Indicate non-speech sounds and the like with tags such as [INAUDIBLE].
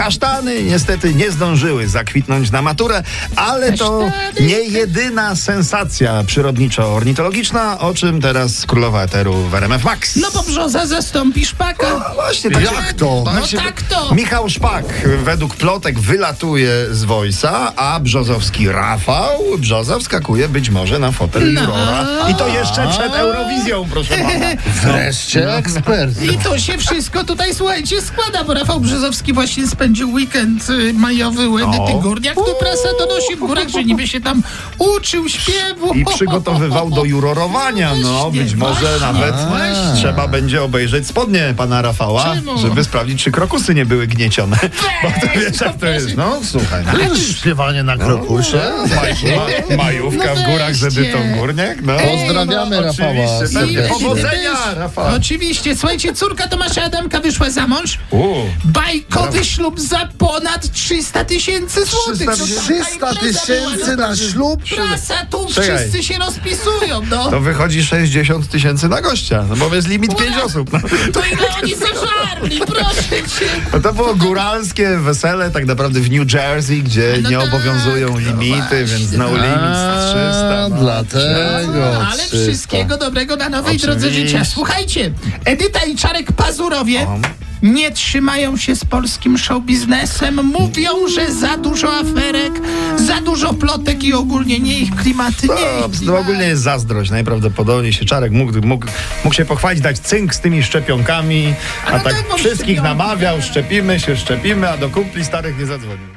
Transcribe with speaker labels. Speaker 1: Kasztany niestety nie zdążyły zakwitnąć na maturę, ale to nie jedyna sensacja przyrodniczo-ornitologiczna, o czym teraz królowa eteru w RMF Max.
Speaker 2: No bo brzoza zastąpi szpaka.
Speaker 1: A właśnie, tak
Speaker 3: Jak to?
Speaker 2: No tak to.
Speaker 1: Michał Szpak według plotek wylatuje z Wojsa, a brzozowski Rafał Brzoza wskakuje być może na fotel
Speaker 2: No.
Speaker 1: jurora. I to jeszcze przed Eurowizją, proszę
Speaker 2: [LAUGHS]
Speaker 1: pana. No.
Speaker 3: Wreszcie ekspert.
Speaker 2: I to się wszystko tutaj, słuchajcie, składa, bo Rafał Brzozowski właśnie spędził weekend y, majowy u Edyty
Speaker 1: No.
Speaker 2: Górniak. Tu prasa donosi w górach, że niby się tam uczył śpiewu.
Speaker 1: I
Speaker 2: [LAUGHS]
Speaker 1: przygotowywał do jurorowania. No,
Speaker 2: Właśnie,
Speaker 1: być może
Speaker 2: właśnie,
Speaker 1: nawet
Speaker 2: właśnie.
Speaker 1: trzeba będzie obejrzeć spodnie pana Rafała,
Speaker 2: Czemu?
Speaker 1: żeby sprawdzić, czy krokusy nie były gniecione. [LAUGHS] Bo to wiesz, jak to jest. No, słuchaj. no.
Speaker 3: To jest śpiewanie na krokusie.
Speaker 2: No
Speaker 1: Ma, majówka w górach z Edytą Górniak. No.
Speaker 3: Pozdrawiamy
Speaker 1: No,
Speaker 3: Rafała
Speaker 1: oczywiście,
Speaker 3: serdecznie.
Speaker 1: pewnie. Powodzenia,
Speaker 2: Też.
Speaker 1: Rafał.
Speaker 2: Oczywiście, słuchajcie, córka Tomasza Adamka wyszła za mąż.
Speaker 1: U.
Speaker 2: Bajkowy ślub za ponad 300 tysięcy
Speaker 1: 300
Speaker 2: złotych. No to
Speaker 3: 300
Speaker 2: taka impreza była,
Speaker 3: tysięcy na ślub?
Speaker 2: Prasa, tu
Speaker 1: Czekaj.
Speaker 2: wszyscy się rozpisują, no.
Speaker 1: To wychodzi 60 tysięcy na gościa, no bo jest limit 5 osób. No.
Speaker 2: To ile oni zażarli, proszę cię.
Speaker 1: No to było góralskie wesele tak naprawdę w New Jersey, gdzie
Speaker 2: No
Speaker 1: nie
Speaker 2: tak,
Speaker 1: obowiązują
Speaker 2: no
Speaker 1: limity, więc no limit z 300.
Speaker 3: A,
Speaker 1: No.
Speaker 3: Dlatego.
Speaker 2: Ale
Speaker 3: 300.
Speaker 2: wszystkiego dobrego na nowej
Speaker 1: Oczywiście.
Speaker 2: drodze życia. Słuchajcie, Edyta i Czarek Pazurowie nie trzymają się z polskim show biznesem. Mówią, że za dużo aferek, za dużo plotek i ogólnie nie ich klimaty. Nie
Speaker 1: No,
Speaker 2: ich
Speaker 1: no
Speaker 2: klimaty.
Speaker 1: ogólnie jest zazdrość. Najprawdopodobniej się Czarek mógł, mógł, mógł się pochwalić, dać cynk z tymi szczepionkami, a
Speaker 2: Ale
Speaker 1: tak
Speaker 2: tak, bo
Speaker 1: wszystkich
Speaker 2: szczepionki.
Speaker 1: namawiał, szczepimy się, szczepimy, a do kupli starych nie zadzwonił.